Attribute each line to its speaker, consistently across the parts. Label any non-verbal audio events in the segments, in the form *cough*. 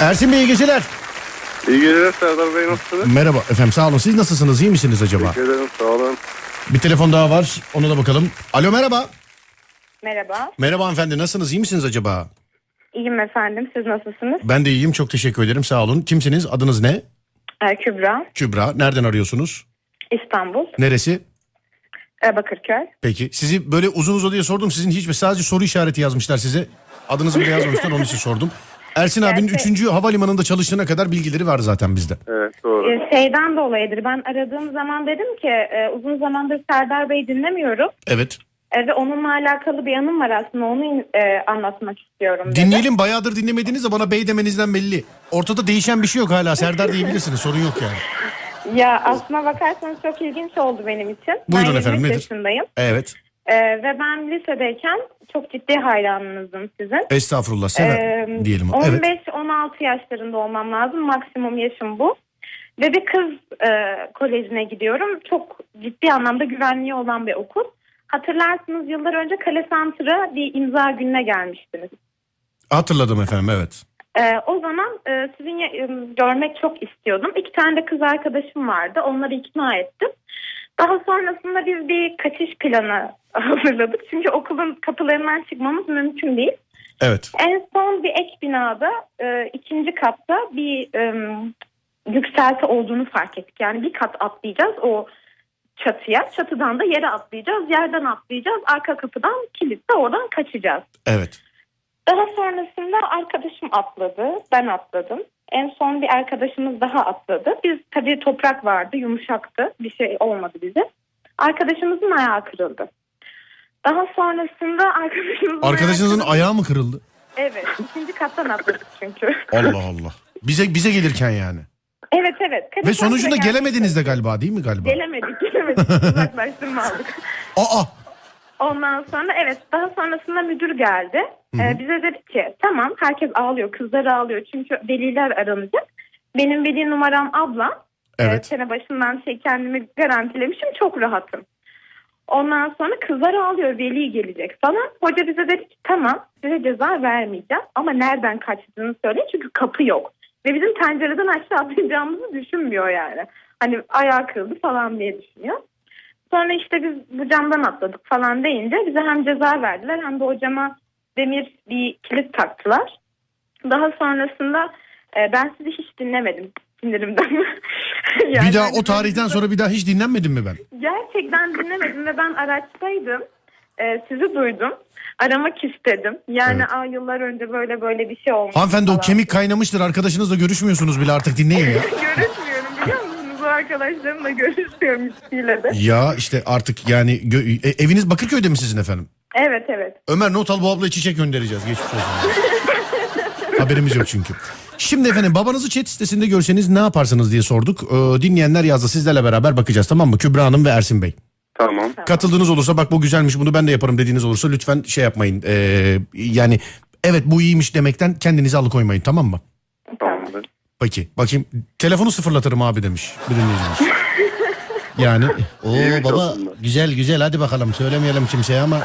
Speaker 1: Ersin Bey iyi geceler.
Speaker 2: İyi geceler Serdar Bey
Speaker 1: *laughs*
Speaker 2: nasılsınız?
Speaker 1: Merhaba efendim sağ olun. Siz nasılsınız? İyi misiniz acaba?
Speaker 2: Teşekkür ederim sağ olun.
Speaker 1: Bir telefon daha var. Ona da bakalım. Alo merhaba.
Speaker 3: Merhaba.
Speaker 1: Merhaba hanımefendi. Nasılsınız? İyi misiniz acaba?
Speaker 3: İyiyim efendim. Siz nasılsınız?
Speaker 1: Ben de iyiyim. Çok teşekkür ederim. Sağ olun. Kimsiniz? Adınız ne?
Speaker 3: Ee, Kübra.
Speaker 1: Kübra. Nereden arıyorsunuz?
Speaker 3: İstanbul.
Speaker 1: Neresi?
Speaker 3: Ee, Bakırköy.
Speaker 1: Peki. Sizi böyle uzun uzun diye sordum. Sizin hiç mi? Sadece soru işareti yazmışlar size. Adınızı bile yazmamışlar. Onun için sordum. Ersin abinin
Speaker 3: Gerçi-
Speaker 1: 3. havalimanında çalıştığına kadar bilgileri var zaten bizde.
Speaker 2: Evet doğru.
Speaker 3: Ee, şeyden dolayıdır. Ben aradığım zaman dedim ki e, uzun zamandır Serdar Bey dinlemiyorum.
Speaker 1: Evet.
Speaker 3: E, ve onunla alakalı bir anım var aslında. Onu e, anlatmak istiyorum. dedi.
Speaker 1: Dinleyelim. Bayağıdır dinlemediniz de bana bey demenizden belli. Ortada değişen bir şey yok hala. Serdar diyebilirsiniz. Sorun yok yani.
Speaker 3: Ya aslına bakarsanız çok ilginç oldu benim için.
Speaker 1: Buyurun
Speaker 3: ben
Speaker 1: efendim,
Speaker 3: 23
Speaker 1: nedir?
Speaker 3: yaşındayım.
Speaker 1: Evet.
Speaker 3: E, ve ben lisedeyken çok ciddi hayranınızdım sizin.
Speaker 1: Estağfurullah. Sever
Speaker 3: Ee,
Speaker 1: diyelim. Evet.
Speaker 3: 15-16 yaşlarında olmam lazım. Maksimum yaşım bu. Ve bir kız e, kolejine gidiyorum. Çok ciddi anlamda güvenliği olan bir okul. Hatırlarsınız yıllar önce Kale Center'a bir imza gününe gelmiştiniz.
Speaker 1: Hatırladım efendim. Evet.
Speaker 3: E, o zaman e, sizin ya- e, görmek çok istiyordum. İki tane de kız arkadaşım vardı. Onları ikna ettim. Daha sonrasında biz bir kaçış planı *laughs* hazırladık. Çünkü okulun kapılarından çıkmamız mümkün değil.
Speaker 1: Evet.
Speaker 3: En son bir ek binada e, ikinci katta bir e, yükselti olduğunu fark ettik. Yani bir kat atlayacağız o çatıya. Çatıdan da yere atlayacağız. Yerden atlayacağız. Arka kapıdan kilitle oradan kaçacağız.
Speaker 1: Evet.
Speaker 3: Daha sonrasında arkadaşım atladı. Ben atladım. En son bir arkadaşımız daha atladı. Biz tabii toprak vardı, yumuşaktı. Bir şey olmadı bize. Arkadaşımızın ayağı kırıldı. Daha sonrasında arkadaşımızın ayağı
Speaker 1: Arkadaşınızın
Speaker 3: kırıldı.
Speaker 1: ayağı mı kırıldı?
Speaker 3: Evet. ikinci kattan atladık çünkü. *laughs*
Speaker 1: Allah Allah. Bize bize gelirken yani.
Speaker 3: evet evet. Kadıköy'de
Speaker 1: Ve sonucunda
Speaker 3: geldik.
Speaker 1: gelemediniz de galiba değil mi galiba?
Speaker 3: Gelemedik. Gelemedik.
Speaker 1: *laughs*
Speaker 3: Uzaklaştırma aldık.
Speaker 1: Aa
Speaker 3: Ondan sonra evet daha sonrasında müdür geldi. Ee, bize dedi ki tamam herkes ağlıyor. Kızlar ağlıyor. Çünkü veliler aranacak. Benim veli numaram abla.
Speaker 1: Evet.
Speaker 3: sene başından şey kendimi garantilemişim. Çok rahatım. Ondan sonra kızlar ağlıyor. Veli gelecek falan. Hoca bize dedi ki tamam size ceza vermeyeceğim. Ama nereden kaçtığını söyleyin. Çünkü kapı yok. Ve bizim pencereden aşağı atlayacağımızı düşünmüyor yani. Hani ayağı kırıldı falan diye düşünüyor. Sonra işte biz bu camdan atladık falan deyince bize hem ceza verdiler hem de o cama demir bir kilit taktılar. Daha sonrasında e, ben sizi hiç dinlemedim sinirimden. *laughs* Yani
Speaker 1: bir daha
Speaker 3: hani
Speaker 1: o tarihten
Speaker 3: ben-
Speaker 1: sonra bir daha hiç dinlenmedim mi ben?
Speaker 3: Gerçekten dinlemedim ve ben araçtaydım. E, sizi duydum. Aramak istedim. Yani
Speaker 1: Evet.
Speaker 3: "Aa, yıllar önce böyle böyle bir şey olmuş.
Speaker 1: Hanımefendi o
Speaker 3: falan."
Speaker 1: kemik kaynamıştır. Arkadaşınızla görüşmüyorsunuz bile artık dinleyin ya.
Speaker 3: *laughs* Görüşmüyorum biliyor musunuz? O arkadaşlarımla görüşmüyorum hiçbiriyle de.
Speaker 1: ya işte artık yani gö- e, eviniz Bakırköy'de mi sizin efendim?
Speaker 3: Evet evet.
Speaker 1: Ömer Notal bu ablaya çiçek göndereceğiz. Geçmiş olsun. Haberimiz yok çünkü. Şimdi efendim babanızı chat sitesinde görseniz ne yaparsınız diye sorduk. Ee, dinleyenler yazdı sizlerle beraber bakacağız tamam mı? Kübra Hanım ve Ersin Bey.
Speaker 2: Tamam.
Speaker 1: Katıldığınız olursa bak bu güzelmiş bunu ben de yaparım dediğiniz olursa lütfen şey yapmayın. Ee, yani evet bu iyiymiş demekten kendinizi alıkoymayın tamam mı?
Speaker 2: Tamamdır.
Speaker 1: Peki bakayım telefonu sıfırlatırım abi demiş bir dinleyicimiz. Yani o
Speaker 2: İyiymiş
Speaker 1: baba
Speaker 2: aslında.
Speaker 1: güzel güzel hadi bakalım söylemeyelim kimseye ama.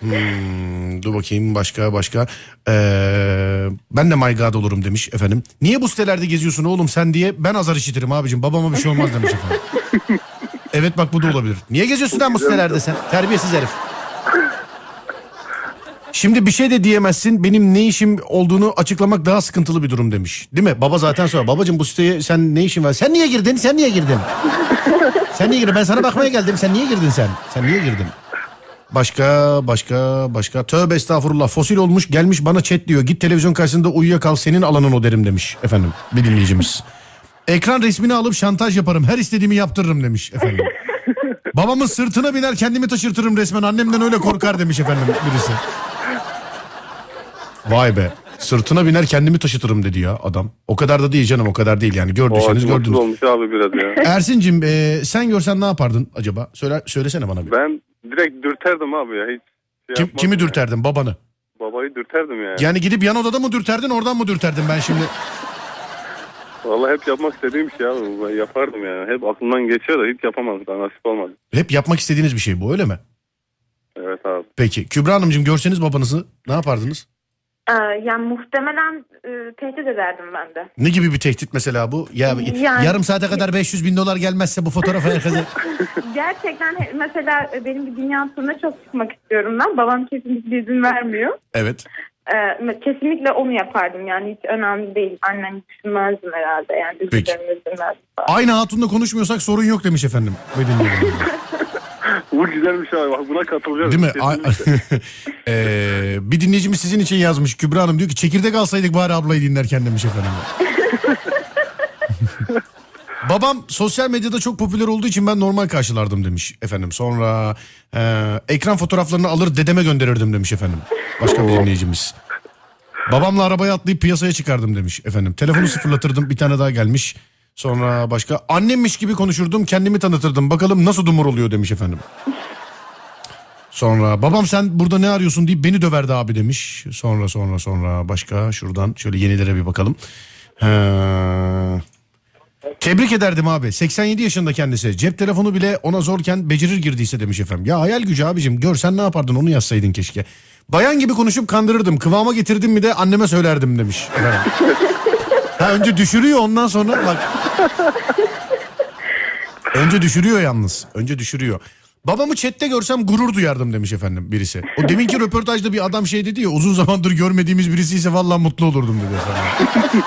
Speaker 1: Hmm, dur bakayım başka başka. Ee, ben de my god olurum demiş efendim. Niye bu sitelerde geziyorsun oğlum sen diye ben azar işitirim abicim babama bir şey olmaz demiş efendim. evet bak bu da olabilir. Niye geziyorsun lan bu sitelerde sen terbiyesiz herif. Şimdi bir şey de diyemezsin. Benim ne işim olduğunu açıklamak daha sıkıntılı bir durum demiş. Değil mi? Baba zaten sorar. Babacığım bu siteye sen ne işin var? Sen niye girdin? Sen niye girdin? sen niye girdin? Ben sana bakmaya geldim. Sen niye girdin sen? Sen niye girdin? Başka başka başka. Tövbe estağfurullah. Fosil olmuş gelmiş bana chat diyor. Git televizyon karşısında uyuyakal senin alanın o derim demiş efendim bir dinleyicimiz. Ekran resmini alıp şantaj yaparım. Her istediğimi yaptırırım demiş efendim. Babamın sırtına biner kendimi taşırtırım resmen. Annemden öyle korkar demiş efendim birisi. Vay be. Sırtına biner kendimi taşıtırım dedi ya adam. O kadar da değil canım o kadar değil yani.
Speaker 2: O
Speaker 1: Gördüyseniz
Speaker 2: ağaç mutsuz
Speaker 1: şey gördünüz.
Speaker 2: olmuş abi biraz
Speaker 1: *laughs*
Speaker 2: ya.
Speaker 1: Ersin'cim e, sen görsen ne yapardın acaba? Söyle, söylesene bana bir.
Speaker 2: ben direkt dürterdim abi ya. Hiç
Speaker 1: Kim,
Speaker 2: şey yapmazdım
Speaker 1: kimi
Speaker 2: ya.
Speaker 1: dürterdin babanı?
Speaker 2: Babayı dürterdim yani.
Speaker 1: Yani gidip yan odada mı dürterdin oradan mı dürterdin ben şimdi?
Speaker 2: Vallahi hep yapmak istediğim şey abi. bu. Ben yapardım yani. Hep aklımdan geçiyor da hiç yapamazdım. Daha Nasip olmadı.
Speaker 1: Hep yapmak istediğiniz bir şey bu öyle mi?
Speaker 2: Evet abi.
Speaker 1: Peki Kübra Hanımcığım görseniz babanızı ne yapardınız?
Speaker 3: Ee, yani muhtemelen e, tehdit ederdim ben de.
Speaker 1: Ne gibi bir tehdit mesela bu? Ya
Speaker 3: Yani-
Speaker 1: yarım saate kadar 500 bin dolar gelmezse bu fotoğraf herkese.
Speaker 3: Gerçekten he- mesela e, benim bir dünya turuna çok çıkmak istiyorum ben. Babam kesinlikle izin vermiyor.
Speaker 1: evet.
Speaker 3: Ee, kesinlikle onu yapardım yani hiç önemli değil. Annem düşünmezdim herhalde yani üzülürüm üzülmezdim falan.
Speaker 1: Aynı hatunla konuşmuyorsak sorun yok demiş efendim. Böyle dinliyorum.
Speaker 2: Bu güzelmiş abi. Bak Buna katılıyorum.
Speaker 1: Değil mi? A-
Speaker 2: Kesinlikle.
Speaker 1: *laughs* Ee, bir dinleyicimiz sizin için yazmış Kübra Hanım. Diyor ki çekirdek alsaydık bari ablayı dinlerken demiş efendim. *laughs* Babam sosyal medyada çok popüler olduğu için ben normal karşılardım demiş efendim. Sonra e, ekran fotoğraflarını alır dedeme gönderirdim demiş efendim. Başka bir dinleyicimiz. Babamla arabaya atlayıp piyasaya çıkardım demiş efendim. Telefonu sıfırlatırdım bir tane daha gelmiş. Sonra başka annemmiş gibi konuşurdum kendimi tanıtırdım. Bakalım nasıl dumur oluyor demiş efendim. Sonra babam sen burada ne arıyorsun deyip beni döverdi abi demiş. Sonra sonra sonra başka şuradan şöyle yenilere bir bakalım. He. Tebrik ederdim abi. 87 yaşında kendisi. Cep telefonu bile ona zorken becerir girdiyse demiş efendim. Ya hayal gücü abicim. Görsen ne yapardın onu yazsaydın keşke. Bayan gibi konuşup kandırırdım. Kıvama getirdim mi de anneme söylerdim demiş. efendim. ha, önce düşürüyor ondan sonra bak. Önce düşürüyor yalnız. Önce düşürüyor. Babamı chatte görsem gurur duyardım demiş efendim birisi. O deminki röportajda bir adam şey dedi ya uzun zamandır görmediğimiz birisi ise valla mutlu olurdum dedi efendim.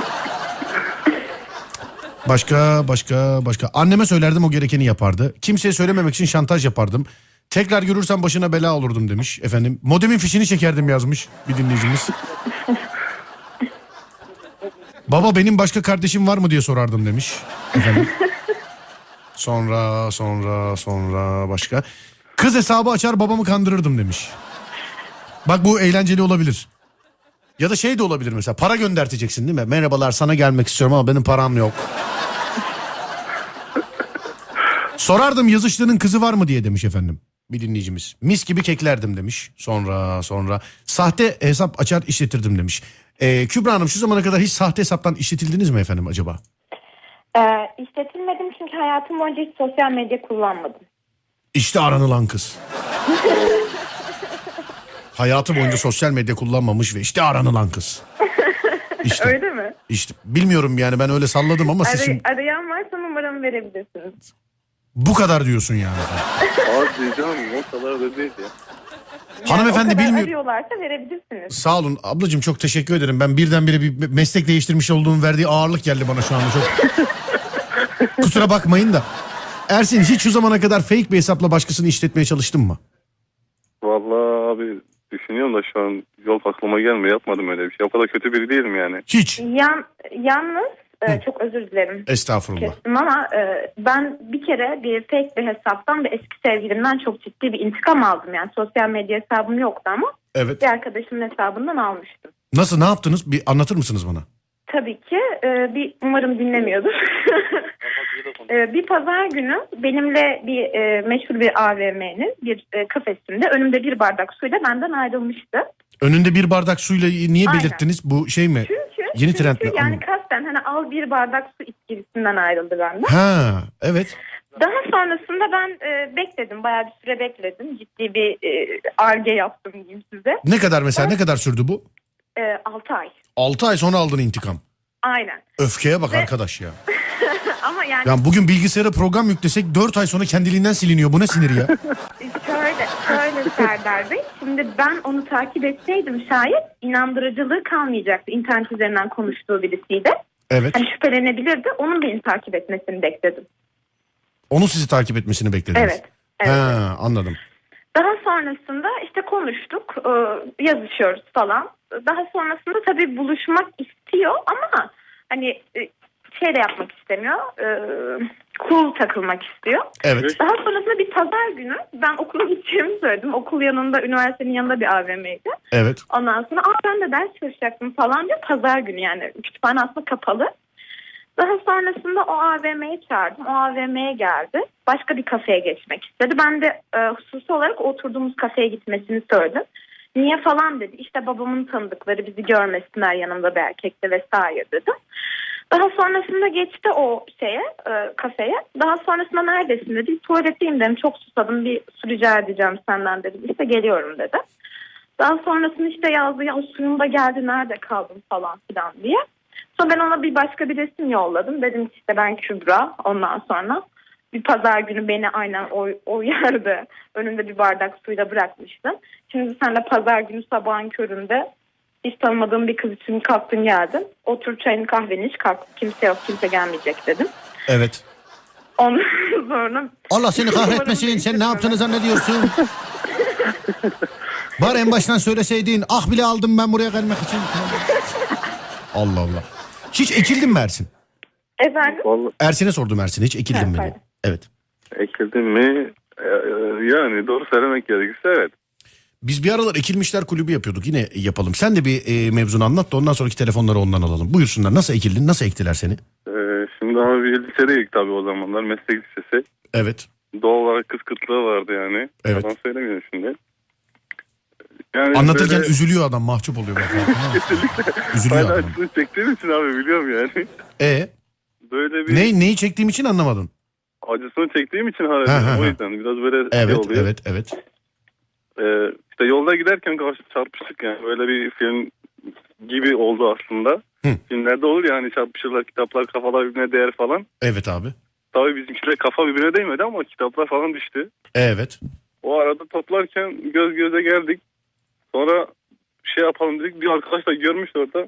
Speaker 1: Başka başka başka. Anneme söylerdim o gerekeni yapardı. Kimseye söylememek için şantaj yapardım. Tekrar görürsem başına bela olurdum demiş efendim. Modemin fişini çekerdim yazmış bir dinleyicimiz. Baba benim başka kardeşim var mı diye sorardım demiş efendim. Sonra sonra sonra başka. Kız hesabı açar babamı kandırırdım demiş. Bak bu eğlenceli olabilir. Ya da şey de olabilir mesela para gönderteceksin değil mi? Merhabalar sana gelmek istiyorum ama benim param yok. Sorardım yazışlının kızı var mı diye demiş efendim bir dinleyicimiz. Mis gibi keklerdim demiş. Sonra sonra sahte hesap açar işletirdim demiş. Ee, Kübra Hanım şu zamana kadar hiç sahte hesaptan işletildiniz mi efendim acaba?
Speaker 3: Ee, işletilmedim çünkü hayatım boyunca hiç sosyal medya kullanmadım.
Speaker 1: İşte aranılan kız. Hayatı boyunca sosyal medya kullanmamış ve işte aranılan kız. İşte,
Speaker 3: Öyle mi?
Speaker 1: işte bilmiyorum yani ben öyle salladım ama siz
Speaker 3: Aray-
Speaker 1: şimdi
Speaker 3: arayan varsa numaramı verebilirsiniz.
Speaker 1: bu kadar diyorsun yani.
Speaker 2: Abi canım o kadar da değil ya.
Speaker 1: Hanımefendi
Speaker 3: o kadar
Speaker 1: bilmiyor.
Speaker 3: arıyorlarsa verebilirsiniz.
Speaker 1: Sağ olun ablacığım çok teşekkür ederim. Ben birdenbire bir meslek değiştirmiş olduğum verdiği ağırlık geldi bana şu anda çok.
Speaker 3: *laughs*
Speaker 1: Kusura bakmayın da. Ersin hiç şu zamana kadar fake bir hesapla başkasını işletmeye çalıştın mı?
Speaker 2: Vallahi abi düşünüyorum da şu an yol aklıma gelmiyor. Yapmadım öyle bir şey. O kadar kötü biri değilim yani.
Speaker 1: Hiç.
Speaker 3: Yan, yalnız e, çok özür dilerim.
Speaker 1: Estağfurullah.
Speaker 3: kestim ama e, ben bir kere bir fake bir hesaptan ve eski sevgilimden çok ciddi bir intikam aldım. Yani sosyal medya hesabım yoktu ama
Speaker 1: Evet.
Speaker 3: bir arkadaşımın hesabından almıştım.
Speaker 1: Nasıl ne yaptınız? Bir anlatır mısınız bana?
Speaker 3: Tabii ki e, bir umarım dinlemiyordur. *laughs* E, bir pazar günü benimle bir e, meşhur bir AVM'nin bir e, kafesinde önümde bir bardak suyla benden ayrılmıştı.
Speaker 1: Önünde bir bardak suyla niye
Speaker 3: Aynen.
Speaker 1: belirttiniz? Bu şey mi?
Speaker 3: Çünkü,
Speaker 1: Yeni
Speaker 3: çünkü
Speaker 1: trend mi?
Speaker 3: yani
Speaker 1: Anladım.
Speaker 3: kasten hani al bir bardak su içkisinden ayrıldı benden.
Speaker 1: Ha, evet.
Speaker 3: Daha sonrasında ben e, bekledim. Bayağı bir süre bekledim. Ciddi bir e, arge yaptım diyeyim size.
Speaker 1: Ne kadar mesela ne kadar sürdü bu?
Speaker 3: E, 6 ay.
Speaker 1: 6 ay sonra aldın intikam.
Speaker 3: Aynen.
Speaker 1: Öfkeye bak
Speaker 3: Ve-
Speaker 1: arkadaş ya.
Speaker 3: Ama yani
Speaker 1: Yani bugün bilgisayara program yüklesek 4 ay sonra kendiliğinden siliniyor. Bu ne sinir ya?
Speaker 3: şöyle, şöyle Serdar Bey. Şimdi ben onu takip etseydim şayet inandırıcılığı kalmayacaktı. İnternet üzerinden konuştuğu birisiydi.
Speaker 1: Evet.
Speaker 3: Hani şüphelenebilirdi. Onun beni takip etmesini bekledim.
Speaker 1: Onun sizi takip etmesini beklediniz.
Speaker 3: Evet. Evet.
Speaker 1: Ha, anladım.
Speaker 3: Daha sonrasında işte konuştuk, e, yazışıyoruz falan. Daha sonrasında tabii buluşmak istiyor ama hani e, şey de yapmak istemiyor, e, cool takılmak istiyor.
Speaker 1: Evet.
Speaker 3: Daha sonrasında bir pazar günü ben *laughs* okula gideceğimi söyledim. Okul yanında, üniversitenin yanında bir AVM'ydi.
Speaker 1: Evet.
Speaker 3: Ondan sonra Aa, ben de ders çalışacaktım falan diyor. Pazar günü yani kütüphane aslında kapalı. Daha sonrasında o AVM'ye çağırdım. O AVM'ye geldi. Başka bir kafeye geçmek istedi. Ben de e, hususi olarak oturduğumuz kafeye gitmesini söyledim. Niye falan dedi. İşte babamın tanıdıkları bizi görmesinler yanımda bir erkekte vesaire dedim. Daha sonrasında geçti o şeye, e, kafeye. Daha sonrasında neredesin dedi. Tuvaletteyim dedim. Çok susadım. Bir su rica edeceğim senden dedim. İşte geliyorum dedi. Daha sonrasını işte yazdı ya o suyum da geldi nerede kaldım falan filan diye. Sonra ben ona bir başka bir resim yolladım. Dedim ki işte ben Kübra ondan sonra. Bir pazar günü beni aynen o, o yerde önümde bir bardak suyla bırakmıştım. Şimdi sen de pazar günü sabahın köründe hiç tanımadığım bir kız için kalktın geldin. Otur çayını kahveni iç kalk. Kimse yok kimse gelmeyecek dedim.
Speaker 1: Evet.
Speaker 3: Ondan *laughs* sonra
Speaker 1: Allah seni kahretmesin.
Speaker 3: Umarım
Speaker 1: Sen ne yaptığını zannediyorsun? Var en baştan söyleseydin. Ah bile aldım ben buraya gelmek için. Allah Allah. Hiç ekildin mi Ersin?
Speaker 3: efendim
Speaker 2: Vallahi
Speaker 1: Ersin'e sordum Ersin'e. Hiç ekildin mi?
Speaker 3: Evet.
Speaker 1: diye. Evet.
Speaker 2: ekildim mi? Ee, yani doğru söylemek gerekirse evet.
Speaker 1: Biz bir aralar ekilmişler kulübü yapıyorduk. Yine yapalım. Sen de bir e, mevzunu anlat da ondan sonraki telefonları ondan alalım. Buyursunlar. Nasıl ekildin? Nasıl ektiler seni?
Speaker 2: Ee, şimdi ama bir lisedeydik tabii o zamanlar meslek lisesi.
Speaker 1: Evet.
Speaker 2: Doğal olarak kız kıtlığı vardı yani.
Speaker 1: Evet.
Speaker 2: Yalan söylemiyorum şimdi. Yani
Speaker 1: Anlatırken
Speaker 2: böyle-
Speaker 1: üzülüyor adam. Mahcup
Speaker 2: *laughs*
Speaker 1: oluyor. bak. üzülüyor
Speaker 2: Hala
Speaker 1: adam.
Speaker 2: acısını çektiğim için abi biliyorum yani. *laughs*
Speaker 1: E
Speaker 2: Böyle bir
Speaker 1: ne, neyi çektiğim için anlamadın.
Speaker 2: acısını çektiğim için
Speaker 1: Ha, ha,
Speaker 2: hala o
Speaker 1: ha.
Speaker 2: yüzden biraz böyle şey
Speaker 1: Evet,
Speaker 2: oluyor.
Speaker 1: evet, evet.
Speaker 2: Ee, işte yolda giderken karşı çarpıştık yani. Böyle bir film gibi oldu aslında.
Speaker 1: Hı.
Speaker 2: Filmlerde olur ya hani çarpışırlar kitaplar kafalar birbirine değer falan.
Speaker 1: Evet abi.
Speaker 2: Tabii bizimkiler kafa birbirine değmedi ama kitaplar falan düştü.
Speaker 1: Evet.
Speaker 2: O arada toplarken göz göze geldik. Sonra şey yapalım dedik. Bir arkadaş da görmüş orada.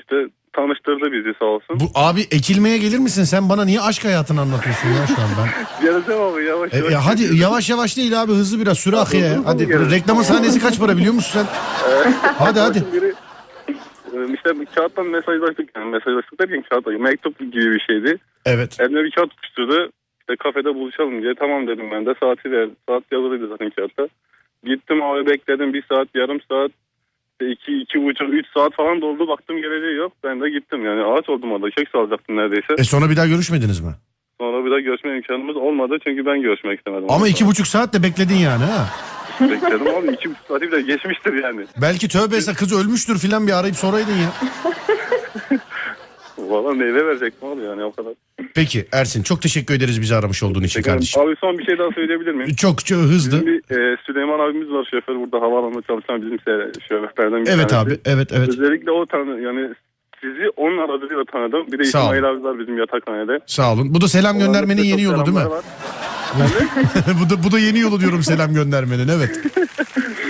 Speaker 2: İşte tanıştırdı bizi sağ olsun.
Speaker 1: Bu abi ekilmeye gelir misin? Sen bana niye aşk hayatını anlatıyorsun ya şu an ben?
Speaker 2: Geleceğim abi yavaş
Speaker 1: E,
Speaker 2: yavaş.
Speaker 1: e, hadi yavaş yavaş değil abi hızlı biraz sür akıya. ya. Hadi
Speaker 2: Hızlı
Speaker 1: reklamın sahnesi kaç para biliyor musun sen? hadi hadi.
Speaker 2: Arkadaşım biri, e, işte bir kağıttan mesajlaştık. Yani mesajlaştık derken kağıt mektup gibi bir şeydi.
Speaker 1: Evet.
Speaker 2: Eline bir kağıt tutuşturdu. İşte kafede buluşalım diye. Tamam dedim ben de saati ver. Saat yazılıydı zaten kağıtta. Gittim abi bekledim bir saat yarım saat. işte iki, iki buçuk, üç saat falan doldu. Baktım geleceği yok. Ben de gittim yani. Ağaç oldum orada. Kek salacaktım neredeyse.
Speaker 1: E sonra bir daha görüşmediniz mi?
Speaker 2: Sonra bir daha görüşme imkanımız olmadı. Çünkü ben görüşmek istemedim.
Speaker 1: Ama iki buçuk saat de bekledin yani ha.
Speaker 2: Bekledim abi. iki buçuk saati bile geçmiştir yani.
Speaker 1: Belki tövbe etse kız ölmüştür filan bir arayıp soraydın ya.
Speaker 2: Valla neyle verecektim abi yani o kadar.
Speaker 1: Peki Ersin çok teşekkür ederiz bizi aramış olduğun için kardeşim.
Speaker 2: Abi son bir şey daha söyleyebilir miyim?
Speaker 1: Çok, çok hızlı.
Speaker 2: Bizim bir e, Süleyman abimiz var şoför burada havaalanında çalışan bizim se- şoförlerden bir
Speaker 1: Evet
Speaker 2: tanesi.
Speaker 1: abi evet evet.
Speaker 2: Özellikle o tanı yani sizi onun aracılığıyla tanıdım. Bir de
Speaker 1: Sağ
Speaker 2: İsmail abi var bizim yatakhanede.
Speaker 1: Sağ olun. Bu da selam göndermenin
Speaker 2: Onların da
Speaker 1: yeni
Speaker 2: çok
Speaker 1: yolu değil mi?
Speaker 2: selamları var.
Speaker 1: *laughs* bu da bu da yeni yolu diyorum selam göndermenin evet.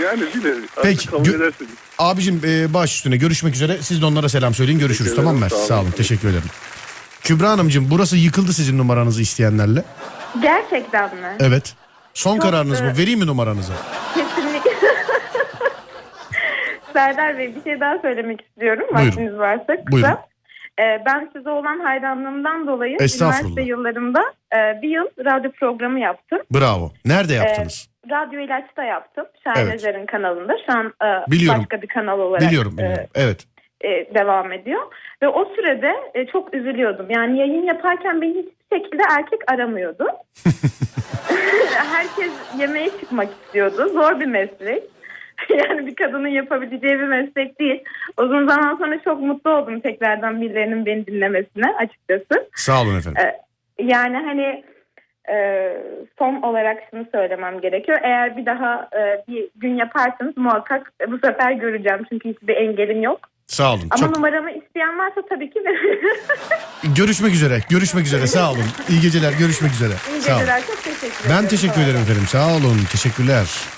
Speaker 2: Yani bilir. artık
Speaker 1: Peki,
Speaker 2: Kabul
Speaker 1: gö-
Speaker 2: edersiniz.
Speaker 1: Abicim e, baş üstüne görüşmek üzere. Siz de onlara selam söyleyin. Görüşürüz
Speaker 2: Teşekkür
Speaker 1: tamam mı?
Speaker 2: ederim,
Speaker 1: Sağ,
Speaker 2: sağ olun.
Speaker 1: olun. Teşekkür ederim. Kübra Hanımcığım burası yıkıldı sizin numaranızı isteyenlerle.
Speaker 3: gerçekten mi?
Speaker 1: Evet. Son
Speaker 3: Çok
Speaker 1: kararınız mı?
Speaker 3: güzel.
Speaker 1: Vereyim mi numaranızı?
Speaker 3: Kesinlikle. *laughs* Serdar Bey bir şey daha söylemek istiyorum.
Speaker 1: Buyurun.
Speaker 3: Vaktiniz varsa kısa.
Speaker 1: Buyurun.
Speaker 3: Ee, ben size olan hayranlığımdan dolayı
Speaker 1: Estağfurullah.
Speaker 3: üniversite yıllarımda e, bir yıl radyo programı yaptım.
Speaker 1: Bravo. Nerede yaptınız?
Speaker 3: Radyo ilaçta yaptım. Şahin
Speaker 1: Evet.
Speaker 3: Özer'in kanalında. Şu an e,
Speaker 1: Biliyorum.
Speaker 3: başka bir kanal olarak
Speaker 1: biliyorum
Speaker 3: e,
Speaker 1: biliyorum. Evet.
Speaker 3: e, devam ediyor. Ve o sürede e, çok üzülüyordum. Yani yayın yaparken beni hiçbir şekilde erkek aramıyordu. Herkes yemeğe çıkmak istiyordu. Zor bir meslek. *laughs* Yani bir kadının yapabileceği bir meslek değil. Uzun zaman sonra çok mutlu oldum tekrardan birilerinin beni dinlemesine açıkçası.
Speaker 1: Sağ olun efendim.
Speaker 3: Yani hani e, son olarak şunu söylemem gerekiyor. Eğer bir daha e, bir gün yaparsanız muhakkak e, bu sefer göreceğim. Çünkü hiçbir engelim yok.
Speaker 1: Sağ olun.
Speaker 3: Ama
Speaker 1: Çok
Speaker 3: numaramı isteyen varsa tabii ki *laughs*
Speaker 1: görüşmek üzere. Görüşmek üzere. Sağ olun. İyi geceler. Görüşmek üzere.
Speaker 3: iyi
Speaker 1: Sağ olun.
Speaker 3: geceler. Çok teşekkür ederim.
Speaker 1: Ben teşekkür ederim efendim. Sağ olun. Teşekkürler.